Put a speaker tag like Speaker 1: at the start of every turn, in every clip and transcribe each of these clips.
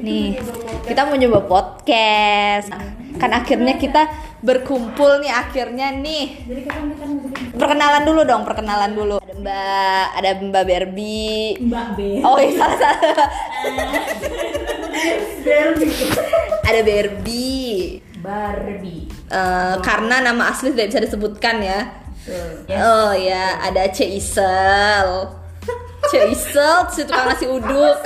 Speaker 1: nih kita mau nyoba podcast kan akhirnya kita berkumpul nih akhirnya nih
Speaker 2: kan
Speaker 1: perkenalan dulu dong perkenalan dulu ada mbak ada mbak Berbi
Speaker 2: Mbak B.
Speaker 1: oh iya salah salah
Speaker 2: Barbie.
Speaker 1: ada Berbi
Speaker 2: Barbie.
Speaker 1: Eh, karena nama asli tidak bisa disebutkan ya
Speaker 2: Tuh.
Speaker 1: oh ya ada C Isel C Isel si tukang nasi uduk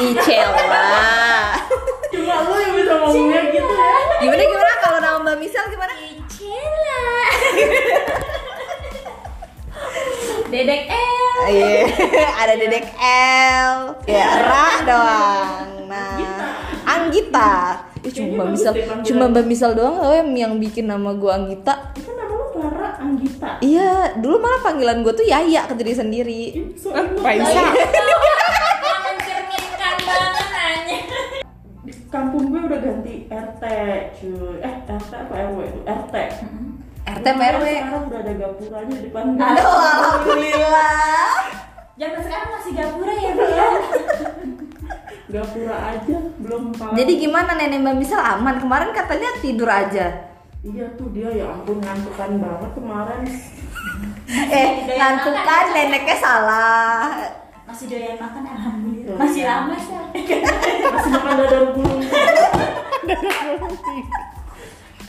Speaker 1: Icela
Speaker 2: Cuma lu yang bisa ngomongnya gitu ya.
Speaker 1: gimana gimana kalau nama mbak Misel gimana
Speaker 2: Dedek L.
Speaker 1: Iya, ada Dedek L, ya
Speaker 2: Iya.
Speaker 1: Ra doang. Nah, Anggita. Ih, cuma Mbak
Speaker 2: Kayaknya bagus
Speaker 1: Misal,
Speaker 2: deh panggilan.
Speaker 1: cuma Mbak Misal doang loh yang, yang bikin nama gue Anggita.
Speaker 2: Itu nama lu Clara Anggita.
Speaker 1: Iya, dulu malah panggilan gue tuh Yaya ke diri sendiri. Eh,
Speaker 2: Soalnya
Speaker 1: Raisa.
Speaker 3: mencerminkan banget nanya
Speaker 2: di kampung gue udah ganti RT, cuy. Eh, RT apa RW? RT.
Speaker 1: RT PRW.
Speaker 2: Sekarang udah ada gapuranya di depan.
Speaker 1: Aduh, alhamdulillah.
Speaker 2: Oh.
Speaker 3: zaman sekarang masih gapura ya bu ya
Speaker 2: Gapura aja belum paham.
Speaker 1: Jadi gimana nenek Mbak Misal aman? Kemarin katanya tidur aja.
Speaker 2: Iya tuh dia ya ampun ngantukan banget kemarin.
Speaker 1: Eh, ngantuk kan neneknya salah.
Speaker 3: masih doyan makan alhamdulillah
Speaker 2: Doyan.
Speaker 3: masih lama sih
Speaker 2: Masih makan dadar gulung.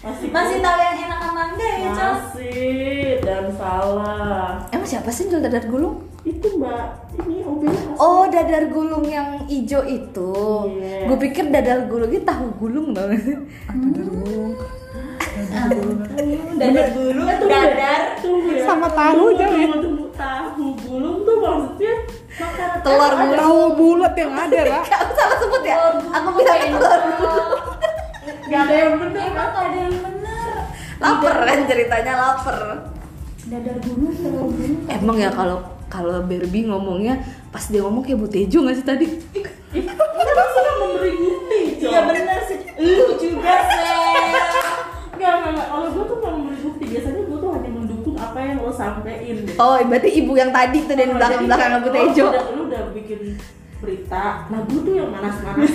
Speaker 2: Masih
Speaker 3: masih tahu yang enak sama enggak ya cok
Speaker 2: Masih dan salah.
Speaker 1: Emang siapa sih yang jual dadar gulung?
Speaker 2: Itu Mbak, ini obes.
Speaker 1: Oh, dadar gulung yang ijo itu.
Speaker 2: Iya.
Speaker 1: Gue pikir dadar gulung itu tahu gulung dong. Dadar gulung. Ah,
Speaker 3: dadar dulu dadar
Speaker 2: Tunggu ya.
Speaker 1: Sama tahu
Speaker 2: tunggu,
Speaker 1: dong ya.
Speaker 2: tunggu, tunggu. tahu gulung tuh maksudnya makanan
Speaker 1: Telur gulung.
Speaker 4: Tahu bulat yang ada lah.
Speaker 1: Kamu salah sebut ya?
Speaker 3: Telur gulung.
Speaker 1: Aku bilang telur gulung.
Speaker 2: Gak ada yang bener.
Speaker 3: emang gak ada yang bener
Speaker 1: Laper kan ceritanya lapar.
Speaker 3: dadar dulu telur dulu
Speaker 1: Emang ya kalau kalau Barbie ngomongnya pas dia ngomong kayak Bu Tejo nggak sih tadi?
Speaker 2: Kita sudah Kan memberi bukti.
Speaker 3: iya bener sih lu juga sel
Speaker 2: Gak, gak, gak. Kalau gue tuh gak memberi bukti. Biasanya gue tuh hanya mendukung apa yang lo sampein.
Speaker 1: Oh, berarti ibu yang tadi tuh dari belakang
Speaker 2: Oh,
Speaker 1: belakang Bu Tejo.
Speaker 2: Lu udah, lu udah bikin berita. Nah gue tuh yang manas-manas.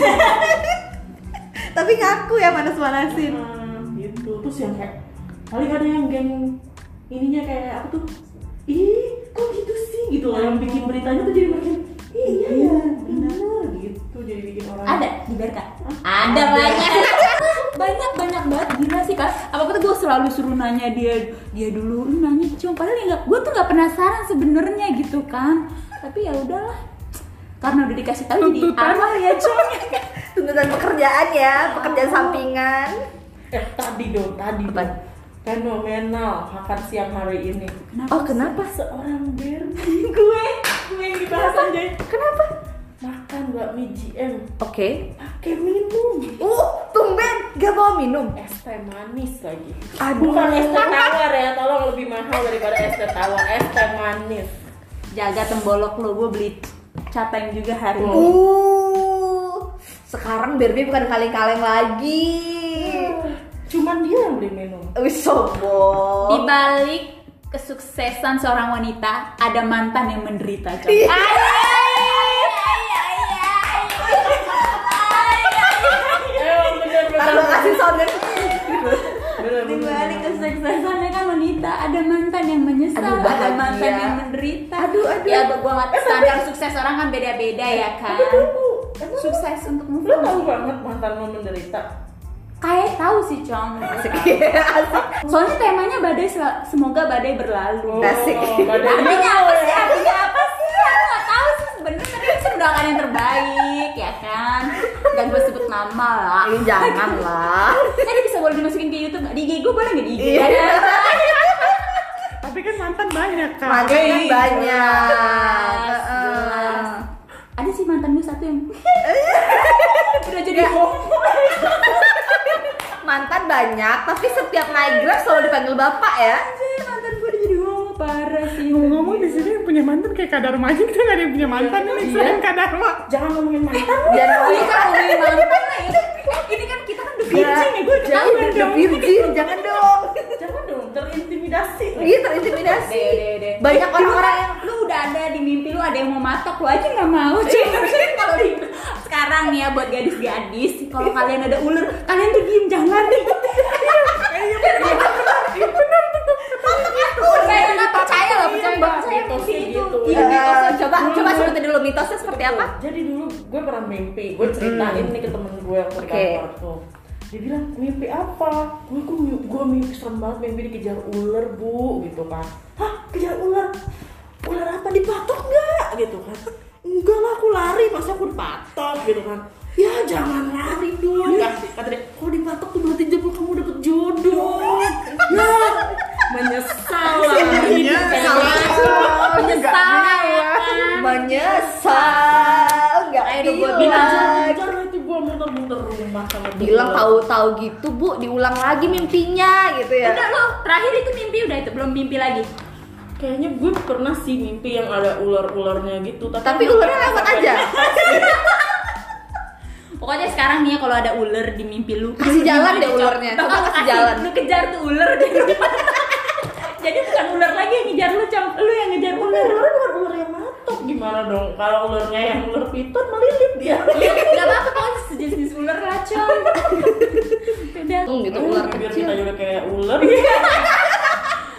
Speaker 1: Tapi ngaku ya manas-manasin.
Speaker 2: gitu terus yang kayak paling ada yang geng ininya kayak apa tuh ih kok gitu sih gitu loh yang bikin beritanya tuh jadi makin "Ih, iya ya benar gitu jadi bikin orang
Speaker 3: ada di Berka ada banyak banyak banyak banget gila sih kak apa apa tuh gue selalu suruh nanya dia dia dulu "Lu nanya cuma padahal nggak gue tuh nggak penasaran sebenarnya gitu kan tapi ya udahlah karena udah dikasih tahu jadi amal ya cung
Speaker 1: Tuntutan pekerjaan ya, pekerjaan sampingan.
Speaker 2: eh tadi dong tadi
Speaker 1: Apa?
Speaker 2: dong fenomenal makan siang hari ini
Speaker 3: kenapa
Speaker 1: Oh, kenapa?
Speaker 2: seorang Barbie
Speaker 3: gue
Speaker 2: gue yang dibahas aja
Speaker 1: Kenapa?
Speaker 2: makan bakmi GM
Speaker 1: Oke.
Speaker 2: pakai minum
Speaker 1: Uh, tumben gak bawa minum.
Speaker 2: es teh manis lagi
Speaker 1: Aduh.
Speaker 2: bukan es teh tawar ya tolong lebih mahal daripada es teh tawar es teh manis
Speaker 3: jaga tembolok lo gue beli cateng juga hari ini
Speaker 1: Oh. Uh, sekarang Barbie bukan kaleng-kaleng lagi.
Speaker 2: cuman dia yang beli minum
Speaker 1: Wih sombong.
Speaker 3: di balik kesuksesan seorang wanita ada mantan yang menderita cung
Speaker 1: Iya. Iya.
Speaker 2: Emang bener-bener.
Speaker 1: Ntar gua kasih soundnya.
Speaker 3: Di
Speaker 2: Bener-bener.
Speaker 3: balik kesuksesannya kan wanita ada mantan yang menyesal,
Speaker 1: Aduh,
Speaker 3: ada
Speaker 1: bahagia.
Speaker 3: mantan yang menderita.
Speaker 1: Aduh, aduh.
Speaker 3: Ya gua nggak standar sukses orang kan beda-beda ya kan.
Speaker 2: Tapi lu tuh- emang
Speaker 3: Sukses untuk move
Speaker 2: lu
Speaker 3: on.
Speaker 2: tahu banget mantan lu menderita
Speaker 3: Kayak tahu sih, Cong.
Speaker 1: Asik.
Speaker 3: Soalnya temanya badai sel- semoga badai
Speaker 2: Oh.
Speaker 3: berlalu.
Speaker 1: Asik.
Speaker 2: badannya
Speaker 3: Artinya apa sih? Artinya apa sih? Aku nggak tahu sih sebenarnya tapi itu mendoakan yang terbaik ya kan. Dan gue sebut nama lah.
Speaker 1: Ini jangan lah.
Speaker 3: Eh, dia bisa boleh dimasukin ke YouTube nggak? Di IG gue boleh nggak di IG?
Speaker 1: Iya.
Speaker 4: Tapi kan mantan banyak kan.
Speaker 1: Mantannya
Speaker 2: Oke.
Speaker 1: banyak.
Speaker 3: Jelas, jelas. Ada sih mantan gue satu yang udah jadi
Speaker 1: Mantan banyak, tapi setiap naik grab selalu dipanggil bapak ya.
Speaker 3: Anjir, mantan gue udah jadi homo parah sih.
Speaker 4: Ngomong-ngomong di sini yang punya mantan kayak kadar aja kita nggak ada yang punya mantan
Speaker 1: Iya.
Speaker 4: ini selain kadar
Speaker 2: jangan ngomongin mantan
Speaker 1: Dan
Speaker 3: Iya kan ngomongin mantan lah ya. Ini kan kita kan udah virgin ya gue
Speaker 1: jangan
Speaker 3: ketahuan
Speaker 1: the
Speaker 3: dong.
Speaker 1: virgin, jangan dong.
Speaker 2: jangan dong terintimidasi
Speaker 1: Iya terintimidasi.
Speaker 3: Deh, deh, deh.
Speaker 1: Banyak orang-orang yang
Speaker 3: Lu udah ada di mimpi lu lu ada yang mau matok lu aja nggak mau cuy Mungkin Iya, kalau di sekarang nih ya buat gadis-gadis kalau kalian ada ular kalian tuh diem jangan Iya, Kayak nggak percaya lah, percaya
Speaker 2: Iya,
Speaker 3: banget saya
Speaker 2: mitosnya
Speaker 3: kayak gitu.
Speaker 2: gitu.
Speaker 3: Iya,
Speaker 1: Iya.
Speaker 3: mitosnya. coba coba sebutin dulu mitosnya seperti apa?
Speaker 2: Jadi dulu gue pernah mimpi, gue ceritain nih ke temen gue yang di
Speaker 1: Oke.
Speaker 2: kantor tuh. Dia bilang mimpi apa? Gue gue mimpi, gue mimpi serem banget mimpi dikejar ular bu gitu kan. Hah kejar ular? Ular apa dipatok nggak? Gitu kan? Enggak lah aku lari masa aku dipatok gitu kan. Ya jangan lari dong. Kan? Kata dia kalau dipatok tuh berarti jempol kamu dapet jodoh. ya menyesal
Speaker 3: Iya,
Speaker 2: lah.
Speaker 1: Menyesal.
Speaker 3: Menyesal ya.
Speaker 1: menyesal nggak ada buat
Speaker 2: Bilang
Speaker 1: bilang
Speaker 2: jangan itu gue muter-muter rumah sama dia.
Speaker 1: bilang tahu-tahu gitu bu diulang lagi mimpinya gitu ya
Speaker 3: Udah lo terakhir itu mimpi udah itu belum mimpi lagi.
Speaker 2: Kayaknya gue pernah sih mimpi yang ada ular-ularnya gitu, tapi,
Speaker 1: tapi ularnya lewat aja
Speaker 3: Pokoknya sekarang nih ya kalau ada ular di mimpi lu
Speaker 1: Kasih jalan deh ularnya.
Speaker 3: Coba
Speaker 1: Coba kasih
Speaker 3: kasih
Speaker 1: jalan.
Speaker 3: Lu kejar tuh ular di rumah. Jadi bukan ular lagi yang ngejar lu, Cong. Lu yang ngejar
Speaker 2: Ular,
Speaker 3: ular.
Speaker 2: ular bukan ular yang matok gimana dong? Kalau ularnya yang ular piton melilit dia.
Speaker 3: Gak apa-apa pokoknya sejenis ular lah, Cong. Udah.
Speaker 1: Hmm, gitu ular
Speaker 2: Bibir
Speaker 1: kecil
Speaker 2: kita juga kayak ular.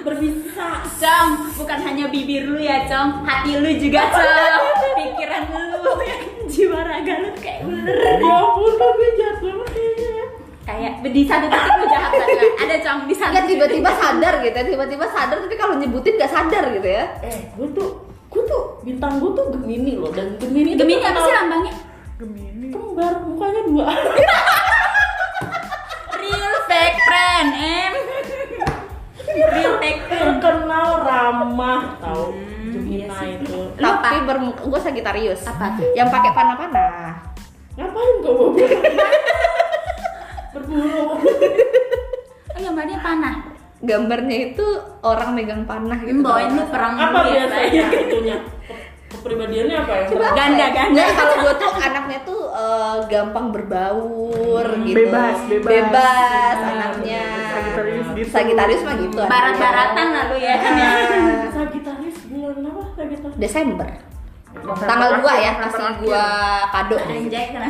Speaker 2: Berbisa.
Speaker 3: Cong, bukan hanya bibir lu ya, Cong. Hati lu juga, Cong. Pikiran lu yang jiwa raga lu kayak ular.
Speaker 2: Ya ampun, tapi jahat banget kayaknya. ya.
Speaker 3: Kayak di satu titik lu jahat banget. Ada, Cong, di satu
Speaker 1: nggak
Speaker 3: titik.
Speaker 1: tiba-tiba sadar gitu ya tiba-tiba sadar tapi kalau nyebutin nggak sadar gitu ya
Speaker 2: Eh, gue tuh, gue tuh bintang gue tuh Gemini loh dan Gemini.
Speaker 3: Gemini apa sih lambangnya?
Speaker 4: Gemini.
Speaker 2: Kembar, mukanya dua.
Speaker 3: Real fake friend, em. Real fake friend.
Speaker 2: Terkenal ramah tau.
Speaker 3: Hmm,
Speaker 2: Gemini
Speaker 3: iya sih.
Speaker 2: itu.
Speaker 3: Apa?
Speaker 1: tapi bermuka gue sagitarius
Speaker 3: Apa?
Speaker 1: yang pakai panah-panah
Speaker 2: Ngapain kau bawa Berburu.
Speaker 3: Oh, gambarnya panah.
Speaker 1: gambarnya itu orang megang panah gitu
Speaker 3: Bawain lu perang
Speaker 2: apa
Speaker 3: dulu ya,
Speaker 2: biasanya
Speaker 3: saya.
Speaker 2: itunya Ke- kepribadiannya apa ya
Speaker 1: Coba apa ya?
Speaker 3: Ganda, ganda.
Speaker 1: Nggak, kalau gue tuh anaknya tuh eh, gampang berbaur
Speaker 3: Hmm.
Speaker 1: gitu
Speaker 4: bebas, bebas.
Speaker 1: bebas anaknya
Speaker 4: Sagittarius gitu.
Speaker 1: Sagitarius mah gitu anaknya.
Speaker 3: Barat-baratan lah lu ya.
Speaker 2: Iya.
Speaker 1: Nah,
Speaker 2: Sagitarius bulan apa Sagitarius
Speaker 1: Desember tanggal 2 ya kasih gua kado
Speaker 3: Anjay kena.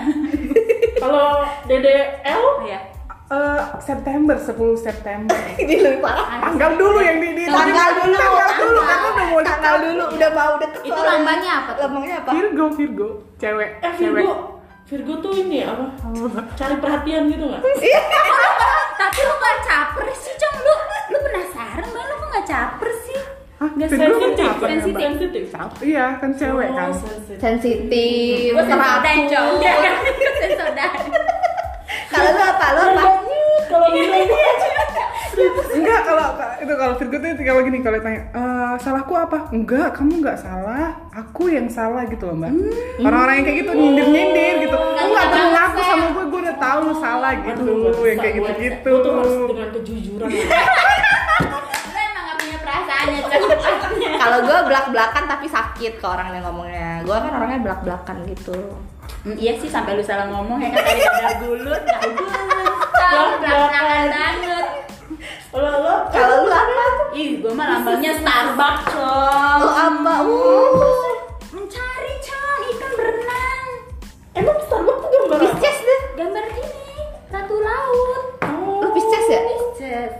Speaker 2: kalau Dede L
Speaker 3: kan. Oh ya.
Speaker 4: Eh, September, 10 September.
Speaker 1: ini lebih parah
Speaker 4: Tanggal dulu yang di, di
Speaker 1: tanggal dulu
Speaker 4: tanggal dulu karena udah mau
Speaker 1: tanggal dulu udah mau udah kesel.
Speaker 3: Itu lambangnya apa tuh?
Speaker 1: lambangnya apa
Speaker 4: Virgo, Virgo, cewek,
Speaker 2: eh
Speaker 4: cewek.
Speaker 2: Virgo Virgo tuh ini ya, apa cari perhatian gitu nggak
Speaker 1: Iya.
Speaker 3: Tapi lu gak caper sih, Cong. Lu lu penasaran banget lu kok gak caper sih?
Speaker 4: Hah,
Speaker 3: Nggak
Speaker 4: Virgo
Speaker 3: sensitif,
Speaker 4: kenapa?
Speaker 3: sensitif.
Speaker 2: sensitif
Speaker 4: Iya, kan cewek kan.
Speaker 2: Oh, sensitif.
Speaker 1: sensitif
Speaker 3: Gua sensor dan, Cong.
Speaker 1: teratur
Speaker 3: Sensor dan.
Speaker 1: kalau lu apa lu apa
Speaker 3: Iya.
Speaker 2: kalau bilang
Speaker 4: Enggak, kalau itu kalau Virgo tuh kalau gini kalau tanya, "Eh, salahku apa? Enggak, kamu enggak salah, aku yang salah gitu loh mbak.
Speaker 2: Hmm.
Speaker 4: Orang-orang yang kayak gitu nyindir-nyindir gitu, lu
Speaker 3: Nggak
Speaker 4: nggak perlu
Speaker 3: ngerasa.
Speaker 4: ngaku sama gue, gue udah tahu lu salah gitu,
Speaker 2: Aduh, gua
Speaker 4: yang kayak
Speaker 2: susah, gua-
Speaker 4: gitu-gitu.
Speaker 2: gua tuh harus dengan kejujuran
Speaker 3: Lu emang gak punya perasaan ya, Cong.
Speaker 1: kalau gua belak belakan tapi sakit ke orang yang ngomongnya gua kan orangnya belak belakan gitu
Speaker 3: Hmm, iya sih sampai lu salah ngomong ya kan tadi ada gulut, gak gulut. Cong, belakangan banget.
Speaker 2: kalau lo
Speaker 1: kalau lu apa
Speaker 3: Ih, gue mah lambangnya Starbucks, Cong.
Speaker 1: lu apa uh
Speaker 3: Mencari, Cong, ikan berenang.
Speaker 2: emang Starbucks tuh gambar apa?
Speaker 1: Pisces deh
Speaker 3: Gambar ini, ratu laut.
Speaker 2: Oh.
Speaker 1: lu Pisces ya
Speaker 3: Pisces.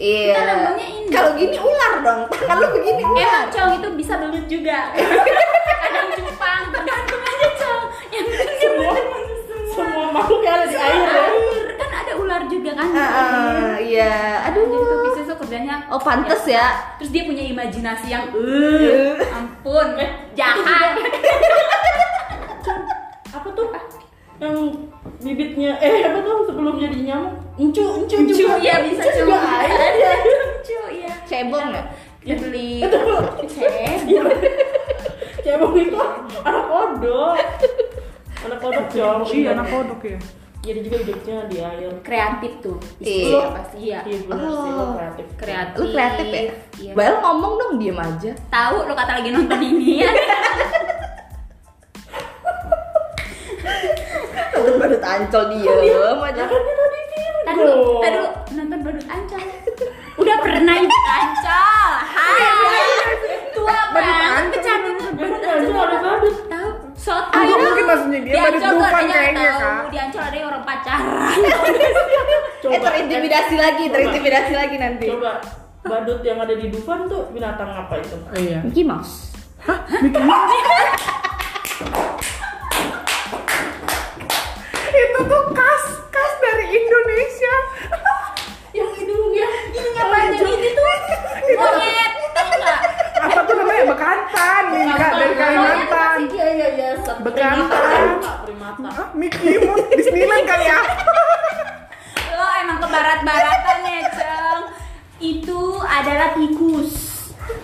Speaker 1: iya
Speaker 3: Kita lambangnya ini.
Speaker 1: kalau gini ular dong tangan lu begini ular
Speaker 3: Emang, Cong, itu bisa belut juga. Kadang cupang, tergantung aja, Cong. Yang penting dia
Speaker 2: semua semua makhluk yang ada di air ya
Speaker 3: air. Kan ada ular juga, kan.
Speaker 1: Ah, ah, iya
Speaker 3: Aduh, jadi tuh
Speaker 1: aduh
Speaker 3: Pisces tuh kerjanya
Speaker 1: oh pantes ya
Speaker 3: Terus dia punya imajinasi yang, eh, ampun, jahat.
Speaker 2: apa tuh yang bibitnya eh apa tuh sebelum jadi nyamuk encu encu iya,
Speaker 3: Cu,
Speaker 2: juga
Speaker 3: ya bisa
Speaker 2: Encu juga air
Speaker 3: Ada cu, ya.
Speaker 1: cebong ya
Speaker 3: Dibeli.
Speaker 2: Aduh.
Speaker 3: Cebong.
Speaker 2: cebong itu anak kodok anak kodok jauh
Speaker 4: Iya, anak kodok ya.
Speaker 2: jadi juga hidupnya di air
Speaker 3: kreatif tuh
Speaker 1: Iya,
Speaker 3: pasti iya
Speaker 2: iya bener sih lo
Speaker 1: Oh.
Speaker 2: kreatif
Speaker 3: kreatif
Speaker 1: lu kreatif ya
Speaker 3: iya.
Speaker 1: Bel ngomong dong diem aja
Speaker 3: tahu lu kata lagi nonton ini ya
Speaker 1: Udah baru tancol
Speaker 3: Oh, iya.
Speaker 1: diem
Speaker 3: Nah,
Speaker 1: aja
Speaker 3: kan
Speaker 1: Eh,
Speaker 3: tadi lu tadi lu nonton badut ancol udah pernah ikut ancol hai tua
Speaker 1: Badut
Speaker 3: banget
Speaker 1: Ancol,
Speaker 3: kecanduan badut ancol Eh,
Speaker 4: maksudnya dia baru
Speaker 3: Ancol tuh
Speaker 4: dupan
Speaker 3: adanya
Speaker 4: kayaknya
Speaker 3: tahu,
Speaker 4: kak
Speaker 3: Di Ancol ada yang orang pacaran.
Speaker 1: eh terintimidasi lagi,
Speaker 2: Coba.
Speaker 1: terintimidasi lagi nanti.
Speaker 2: eh, Coba badut yang ada di Dufan tuh binatang apa itu?
Speaker 4: iya
Speaker 3: Mickey Mouse.
Speaker 4: gitu. itu tuh khas khas dari Indonesia
Speaker 3: Yang hidungnya gini ngapain gini tuh? Monyet, tau nggak?
Speaker 4: apa tuh namanya bekantan nih kak dari Kalimantan
Speaker 1: Iya iya iya. sep-
Speaker 4: bekantan
Speaker 2: Primata, primata.
Speaker 4: ah Mickey Mouse Disneyland kali ya
Speaker 3: Lo emang ke barat-baratan ya, Ceng. Itu adalah tikus.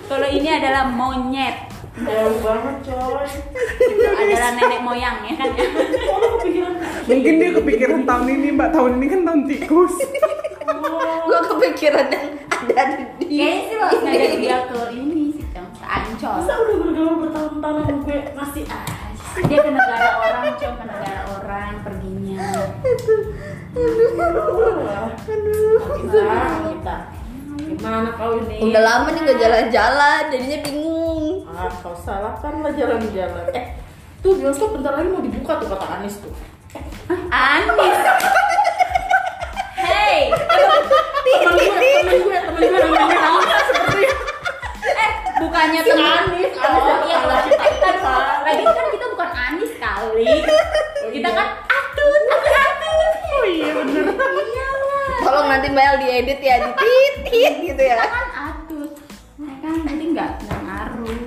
Speaker 3: Kalau ini adalah monyet.
Speaker 2: Jauh banget coy.
Speaker 3: Itu adalah nenek moyang ya kan?
Speaker 2: Iya Kok lu kepikiran?
Speaker 4: mungkin dia kepikiran tahun ini mbak tahun ini kan tahun tikus
Speaker 2: Wow.
Speaker 1: Gua kepikiran yang ada di.
Speaker 3: Kayaknya sih lo ngajak dia ke ini sih, Ceng. Ke Ancol.
Speaker 2: Masa udah bergaul bertahun-tahun sama gue masih ah.
Speaker 3: Dia ke negara orang, Ceng. Ke negara orang perginya.
Speaker 2: Wah, Gimana kita? Gimana kau ini?
Speaker 1: Udah lama nih gak jalan-jalan, jadinya bingung.
Speaker 2: Ah, kau salahkan lah jalan-jalan. Eh, tuh bioskop bentar lagi mau dibuka tuh kata Anies tuh.
Speaker 3: Anis. Hey,
Speaker 2: Temen gue, temen gue, temen gue, temen gue.
Speaker 3: eh bukannya
Speaker 2: Si
Speaker 3: temen
Speaker 2: Anis,
Speaker 3: temen-
Speaker 2: oh,
Speaker 3: iya,
Speaker 2: salah
Speaker 3: kita kita bukan- lagi kan kita bukan Anis kali. Kita kan atut, atut, atut. Oh iya benar. Iyalah.
Speaker 1: Tolong nanti Mel diedit ya, dititit gitu
Speaker 3: Kita
Speaker 1: ya.
Speaker 3: kan atut. Nah, kan nanti nggak nggak ngaruh.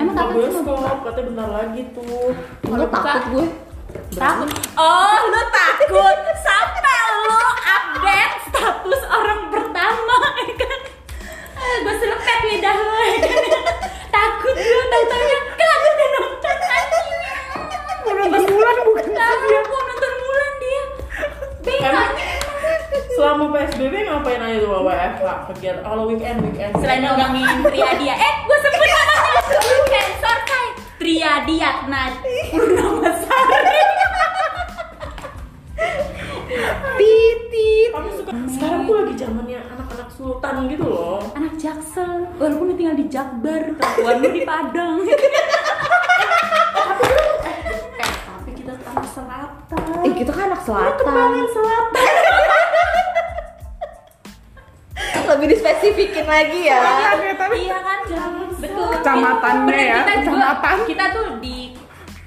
Speaker 3: Emang
Speaker 2: Emang
Speaker 3: kapan sih mau buka?
Speaker 2: bioskop katanya bentar lagi tuh.
Speaker 1: Gue takut gue.
Speaker 3: Takut. Oh, lu takut sampai lu update status orang pertama, ya kan? Gue selepet lidah lu, ya kan? Takut lu tanya kan lu udah nonton anjingnya.
Speaker 4: mau nonton bulan bukan
Speaker 3: Tahu gua nonton bulan dia. Bingung.
Speaker 2: Emang- Selama PSBB ngapain aja tuh WFH? Kegiatan kalau weekend weekend.
Speaker 3: Selain ngomongin Triadia, eh gue sebut namanya sebelum sensor kai Triadia Nat Purnama Sari.
Speaker 1: Titit.
Speaker 2: kamu suka sekarang tuh lagi zamannya anak-anak sultan gitu loh.
Speaker 3: Anak Jaksel, walaupun lu tinggal di Jakbar, kelakuan lu di Padang. Eh,
Speaker 2: Tapi kita tanah selatan.
Speaker 1: Eh kita kan anak selatan.
Speaker 2: selatan.
Speaker 1: Lebih dispesifikin lagi ya.
Speaker 4: ada tapi
Speaker 3: iya kan betul
Speaker 4: Kecamatannya
Speaker 3: Berarti
Speaker 4: ya,
Speaker 3: kita juga-
Speaker 4: kecamatan.
Speaker 3: kita tuh di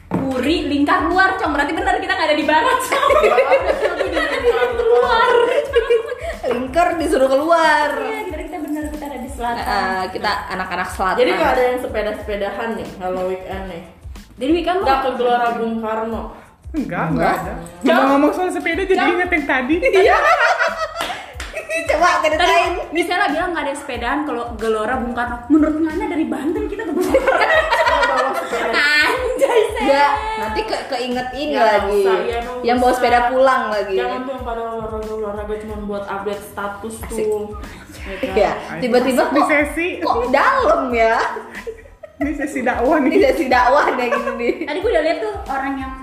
Speaker 3: Puri lingkar luar cong berarti benar kita nggak ada di barat cong kita ada di luar
Speaker 1: Lingker disuruh keluar.
Speaker 3: Iya, kita kita benar kita ada di selatan
Speaker 1: Eh, kita anak-anak selatan.
Speaker 2: Jadi kalau ada yang sepeda-sepedahan nih kalau weekend nih.
Speaker 3: jadi weekend
Speaker 2: Nggak
Speaker 3: lo
Speaker 2: ke Gelora Bung Karno.
Speaker 4: enggak enggak ada
Speaker 3: Jauh.
Speaker 4: mau ngomong soal sepeda jadi
Speaker 3: Jauh.
Speaker 4: inget yang tadi
Speaker 1: coba
Speaker 3: tadi
Speaker 1: ceritain.
Speaker 3: misalnya bilang nggak ada sepedaan kalau gelora bung karno menurut ngana dari banten kita ke bung karno
Speaker 2: Bawa sepeda.
Speaker 3: anjay saya
Speaker 1: Ya, nanti ke keinget ini
Speaker 2: Nggak
Speaker 1: lagi.
Speaker 2: usah, ya, nggak
Speaker 1: yang bawa
Speaker 2: usah.
Speaker 1: sepeda pulang lagi.
Speaker 2: Jangan tuh yang pada olahraga olahraga cuma buat update status
Speaker 1: Asik.
Speaker 2: tuh. Ya kan?
Speaker 1: Ya, tiba-tiba
Speaker 4: di
Speaker 1: kok
Speaker 4: sesi
Speaker 1: kok dalam ya?
Speaker 4: di sesi dakwah
Speaker 1: Ini
Speaker 4: nih
Speaker 1: sesi dakwah deh gitu nih.
Speaker 3: tadi gue udah lihat tuh orang yang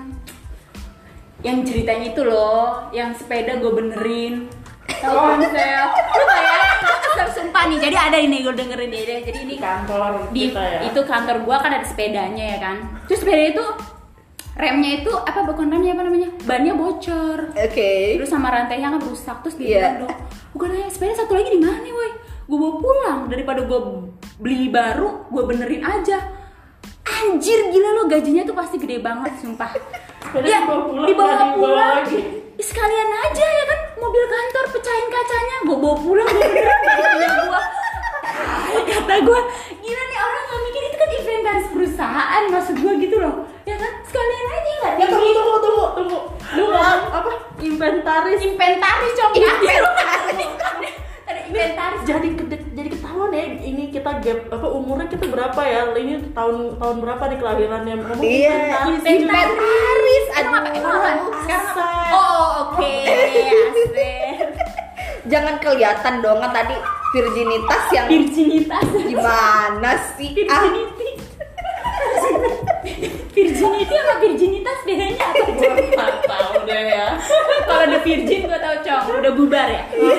Speaker 3: yang ceritanya itu loh yang sepeda gue benerin tahu konsel lu bayangin aku sumpah nih jadi ada ini gue dengerin dia deh. jadi ini kan,
Speaker 2: Di kantor
Speaker 3: di
Speaker 2: kita ya.
Speaker 3: itu kantor gua kan ada sepedanya ya kan terus sepeda itu remnya itu apa bukan remnya apa namanya bannya bocor
Speaker 1: Oke.
Speaker 3: terus sama rantainya kan rusak terus dia
Speaker 1: Iya.
Speaker 3: bilang dong bukan nanya sepeda satu lagi di mana woi gue bawa pulang daripada gue beli baru gue benerin aja anjir gila lo gajinya tuh pasti gede banget sumpah
Speaker 2: Sepeda
Speaker 3: Iya,
Speaker 2: dibawa pulang,
Speaker 3: dibawa
Speaker 2: nggak dibawa
Speaker 3: pulang.
Speaker 2: lagi.
Speaker 3: Ih, sekalian aja ya kan mobil kantor pecahin kacanya gue bawa pulang gue benerin gajinya gue kata gue gila nih orang gak mikir itu kan inventaris perusahaan maksud gue gitu loh ya kan sekalian aja nggak
Speaker 2: Ya tunggu tunggu tunggu tunggu. Lu ngomong apa?
Speaker 3: inventaris inventaris coba
Speaker 1: Iya. Inventaris.
Speaker 3: ada inventaris
Speaker 2: jadi kede- jadi ketahuan ya ini kita gap apa umurnya kita berapa ya ini tahun tahun berapa nih kelahirannya kamu
Speaker 1: Iya.
Speaker 2: inventaris.
Speaker 1: Inventaris.
Speaker 3: Emang apa? Emang apa?
Speaker 1: Aduh.
Speaker 3: Sekarang apa?
Speaker 2: Aset.
Speaker 3: Oh, oke. Aset.
Speaker 1: Jangan kelihatan dong kan tadi virginitas yang
Speaker 3: Virginitas.
Speaker 1: gimana sih? Ah,
Speaker 3: Virginity. Virginity sama virginitas bedanya apa?
Speaker 2: Gua nggak tahu deh ya
Speaker 3: Kalau udah virgin gua tau cong, udah
Speaker 1: Iya.
Speaker 3: bubar ya.
Speaker 2: Iya,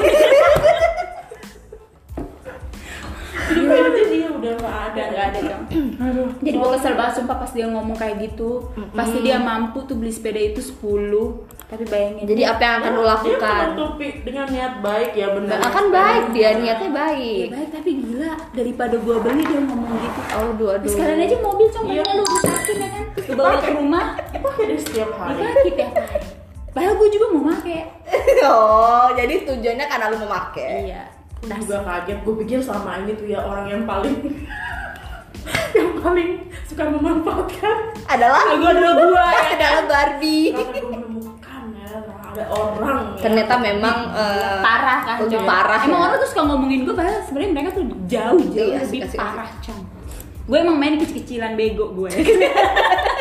Speaker 2: Jadi kayaknya dia udah udah nggak ada
Speaker 3: Udah nggak ada dong
Speaker 4: Aduh.
Speaker 3: jadi gue kesel banget sumpah pas dia ngomong kayak gitu pasti dia mampu tuh beli sepeda itu 10 tapi bayangin
Speaker 1: Jadi apa yang akan
Speaker 3: Iya,
Speaker 1: lo
Speaker 2: Dia
Speaker 1: Kan lakukan?
Speaker 2: menutupi dengan niat baik ya benar.
Speaker 1: Nggak akan baik dia niatnya baik.
Speaker 3: Ya baik tapi gila daripada gua beli dia ngomong gitu
Speaker 1: Oh dua
Speaker 3: Terus Sekalian aja mobil contohnya
Speaker 2: Iya.
Speaker 3: lu rusakin ya kan Lu bawa ke rumah
Speaker 2: Pakai deh setiap hari.
Speaker 3: Dipake tiap hari ya. Padahal gue juga mau pake
Speaker 1: oh jadi tujuannya karena lu memakai.
Speaker 3: Iya
Speaker 2: Aku juga kaget, gue pikir selama ini tuh ya orang yang paling yang paling suka memanfaatkan
Speaker 1: Adalah
Speaker 2: Aku adalah gua, ya.
Speaker 1: adalah Barbie.
Speaker 3: Iya.
Speaker 2: Karena gue menemukan ya, ada orang ya.
Speaker 1: Ternyata memang eh,
Speaker 3: Parah kan
Speaker 1: lebih
Speaker 3: Cong.
Speaker 1: parah.
Speaker 3: Emang
Speaker 1: ya.
Speaker 3: orang tuh suka ngomongin gue Padahal sebenarnya mereka tuh jauh-jauh
Speaker 1: Iya,
Speaker 3: lebih
Speaker 1: asik, asik,
Speaker 3: ya kan? parah Cong Gue emang main kecil-kecilan bego gue